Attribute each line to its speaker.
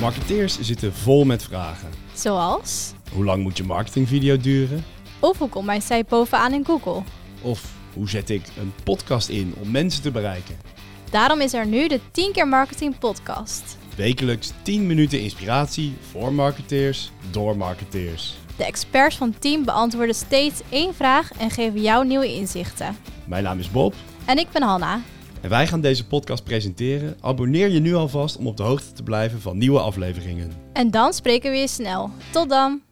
Speaker 1: Marketeers zitten vol met vragen.
Speaker 2: Zoals,
Speaker 1: Hoe lang moet je marketingvideo duren?
Speaker 2: of hoe komt mijn site bovenaan in Google?
Speaker 1: Of hoe zet ik een podcast in om mensen te bereiken?
Speaker 2: Daarom is er nu de 10 keer marketing podcast.
Speaker 1: Wekelijks 10 minuten inspiratie voor marketeers door marketeers.
Speaker 2: De experts van Team beantwoorden steeds één vraag en geven jou nieuwe inzichten.
Speaker 1: Mijn naam is Bob
Speaker 2: En ik ben Hanna.
Speaker 1: en wij gaan deze podcast presenteren. Abonneer je nu alvast om op de hoogte te blijven van nieuwe afleveringen.
Speaker 2: En dan spreken we je snel. Tot dan!